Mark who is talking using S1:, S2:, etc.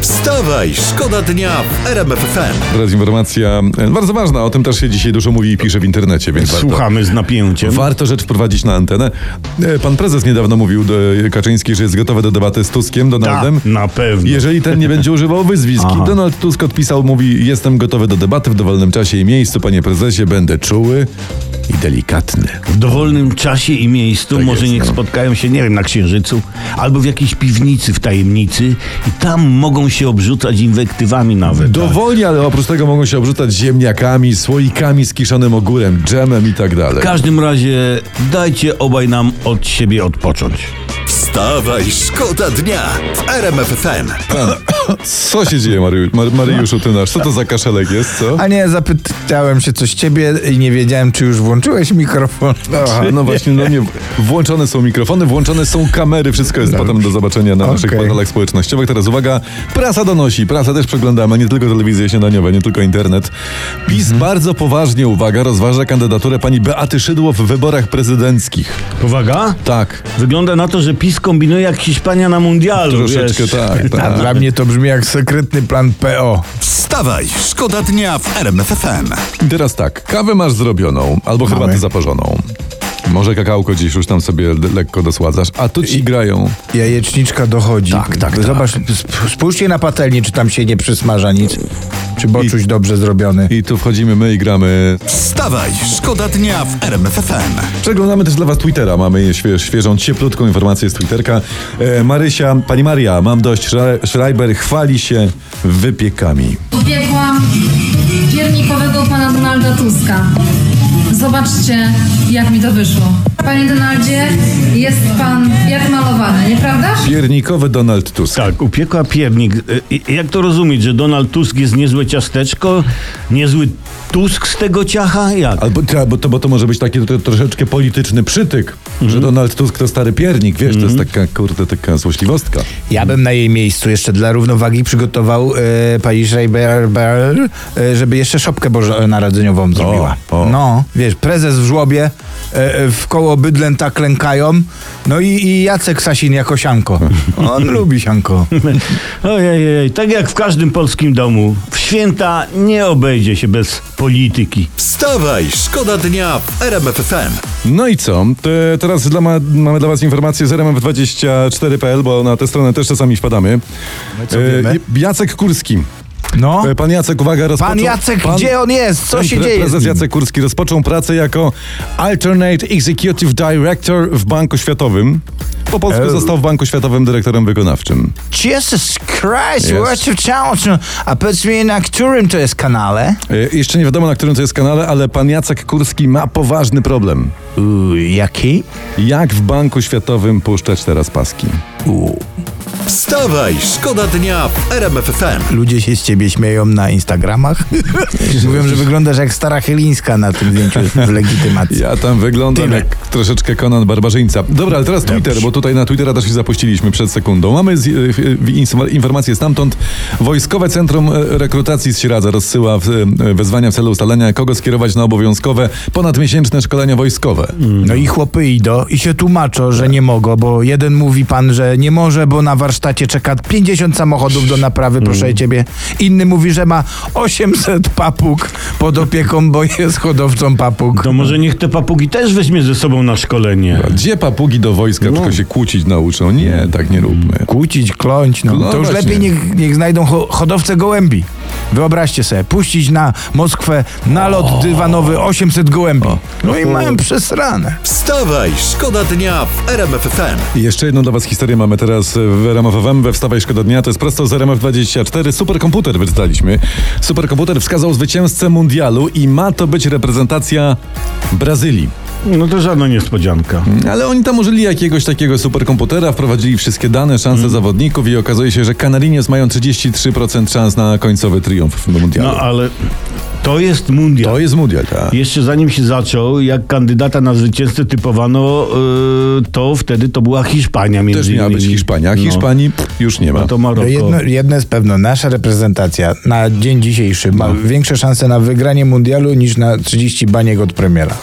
S1: Wstawaj, szkoda dnia w RMF FM.
S2: Teraz informacja e, bardzo ważna, o tym też się dzisiaj dużo mówi i pisze w internecie, więc warto,
S3: Słuchamy z napięciem.
S2: warto rzecz wprowadzić na antenę. E, Pan prezes niedawno mówił do e, Kaczyński, że jest gotowy do debaty z Tuskiem,
S3: Ta,
S2: Donaldem.
S3: na pewno.
S2: Jeżeli ten nie będzie używał wyzwisk. I
S3: Tak. Aha.
S2: Donald Tusk odpisał, mówi, jestem gotowy do debaty w dowolnym czasie i miejscu, panie prezesie, będę czuły i delikatny.
S3: W dowolnym czasie i miejscu
S2: Tak
S3: może
S2: jest,
S3: niech
S2: no.
S3: spotkają się, nie wiem, na Księżycu albo w jakiejś piwnicy w tajemnicy i tam mogą się obrzucać inwektywami nawet.
S2: Dowolnie, ale oprócz tego mogą się obrzucać ziemniakami, słoikami z kiszonym ogórem, dżemem i tak dalej.
S3: W każdym razie dajcie obaj nam od siebie odpocząć.
S1: Wstawaj, szkoda dnia w RMF FM.
S2: No, Co się dzieje, Mariusz, Mar- Mariuszu, ty nasz? Co to za kaszelek jest, co?
S4: A nie, zapytałem się coś ciebie i nie wiedziałem, czy już włączyłeś mikrofon.
S2: Aha, no właśnie, no nie. Włączone są mikrofony, włączone są kamery, wszystko jest potem do zobaczenia na naszych
S4: Okej.
S2: portalach społecznościowych. Teraz uwaga, prasa donosi, prasa też przeglądamy, nie tylko telewizje śniadaniowe, nie tylko internet. PiS bardzo poważnie, uwaga, rozważa kandydaturę pani Beaty Szydło w wyborach prezydenckich.
S3: Uwaga,
S2: Tak,
S3: wygląda na to, że PiS kombinuje jak Hiszpania na mundialu.
S2: troszeczkę
S3: wiesz.
S2: tak,
S4: A
S2: tak.
S4: dla mnie to brzmi jak sekretny plan PO.
S1: Wstawaj, szkoda dnia w RMF FM.
S2: I teraz tak, kawę masz zrobioną, albo herbatę zaparzoną. Może kakałko dziś już tam sobie d- lekko dosładzasz, a tu ci grają.
S4: Jajeczniczka dochodzi.
S2: Tak, tak, tak.
S4: Zobacz, sp- spójrzcie na patelnię, czy tam się nie przysmaża nic. Czy boczuś dobrze zrobiony.
S2: I tu wchodzimy my i gramy
S1: Wstawaj, szkoda dnia w RMF FM.
S2: Przeglądamy też dla Was Twittera. Mamy świe, świeżą, cieplutką informację z Twitterka. E, Marysia, pani Maria, mam dość. Szre- Schreiber chwali się wypiekami.
S5: Pobiegłam piernikowego pana Donalda Tuska. Zobaczcie, jak mi to wyszło. Panie Donaldzie, jest pan jak malowany, nieprawdaż?
S2: Piernikowy Donald Tusk.
S3: Tak, upiekła piernik. Y, y, Jak to rozumieć, że Donald Tusk jest niezłe ciasteczko, niezły Tusk z tego ciacha? Jak?
S2: Albo, ty- albo to, bo to może być taki tro- troszeczkę polityczny przytyk,
S4: Mhm.
S2: że Donald Tusk to stary piernik, wiesz, to jest taka, kurde, taka złośliwostka.
S4: Ja bym na jej miejscu jeszcze dla równowagi przygotował e, pani Schreiber, Ber, e, żeby jeszcze szopkę bożonarodzeniową zrobiła.
S2: o.
S4: No, wiesz, prezes w żłobie, e, e, w koło bydlę tak lękają, no i, i Jacek Sasin jako sianko. On lubi sianko.
S3: Ojej, ojej, tak jak w każdym polskim domu, w święta nie obejdzie się bez polityki.
S1: Wstawaj, szkoda dnia w RMF FM.
S2: No i co? Te, teraz dla ma, mamy dla Was informację z rmf24.pl, bo na tę stronę też czasami wpadamy.
S4: No
S2: E,
S4: co wiemy?
S2: Jacek Kurski.
S4: No,
S2: E, Pan Jacek, uwaga, rozpoczął...
S4: pan Jacek,
S2: Pan-
S4: gdzie on jest? Co
S2: Pan
S4: się
S2: pre-
S4: dzieje? z
S2: Prezes
S4: nim?
S2: Jacek Kurski rozpoczął pracę jako Alternate Executive Director w Banku Światowym. Po polsku został w Banku Światowym dyrektorem wykonawczym.
S4: Jesus Christ,
S2: Jest.
S4: what a challenge. A powiedz mi, na którym to jest kanale?
S2: E, Jeszcze nie wiadomo, na którym to jest kanale, ale pan Jacek Kurski ma poważny problem.
S4: Uj, jaki?
S2: Jak w Banku Światowym puszczać teraz paski?
S1: Wstawaj, szkoda dnia w RMF FM.
S4: Ludzie się z ciebie śmieją na Instagramach. Mówią, że wyglądasz jak stara Chylińska na tym zdjęciu z legitymacji.
S2: Ja tam wyglądam
S4: Tyle.
S2: jak troszeczkę Konan Barbarzyńca. Dobra, ale teraz Twitter, bo tutaj na Twittera też się zapuściliśmy przed sekundą. Mamy z, e, e, ins- informacje stamtąd. Wojskowe Centrum e, Rekrutacji z Sieradza rozsyła w, e, wezwania w celu ustalenia, kogo skierować na obowiązkowe ponadmiesięczne szkolenia wojskowe.
S4: No i chłopy idą i się tłumaczą, że nie mogą, bo jeden mówi pan, że nie może, bo na warsztacie czeka 50 samochodów do naprawy, proszę ciebie. Inny mówi, że ma 800 papug pod opieką, bo jest hodowcą papug.
S3: To może niech te papugi też weźmie ze sobą na szkolenie.
S2: Gdzie papugi do wojska tylko się kłócić nauczą? Nie, tak nie róbmy.
S4: Kłócić, kląć, no.
S2: No
S4: to już
S2: właśnie.
S4: lepiej niech, niech znajdą ho- hodowcę gołębi. Wyobraźcie sobie, puścić na Moskwę nalot dywanowy 800 gołębi. No i mają przesrane.
S1: Wstawaj, szkoda dnia w RMF FM.
S2: I Jeszcze jedną dla Was historię mamy teraz w RMF FM, we Wstawaj Szkoda Dnia, to jest prosto z RMF24. Superkomputer wyczytaliśmy. Superkomputer wskazał zwycięzcę mundialu i ma to być reprezentacja Brazylii.
S3: No to żadna niespodzianka.
S2: Ale oni tam użyli jakiegoś takiego superkomputera, wprowadzili wszystkie dane, szanse
S3: Mhm.
S2: zawodników i okazuje się, że Canarinos mają 33% szans na końcowy triumf w mundialu.
S3: No ale to jest mundial.
S2: To jest mundial, tak.
S3: Jeszcze zanim się zaczął, jak kandydata na zwycięzcę typowano, y, to wtedy to była Hiszpania między
S2: Też miała
S3: innymi.
S2: być Hiszpania, a
S3: No.
S2: Hiszpanii pff, już nie ma.
S3: No to Maroko.
S4: Jedno, jedno jest pewne, nasza reprezentacja na dzień dzisiejszy ma większe szanse na wygranie mundialu niż na 30 baniek od premiera.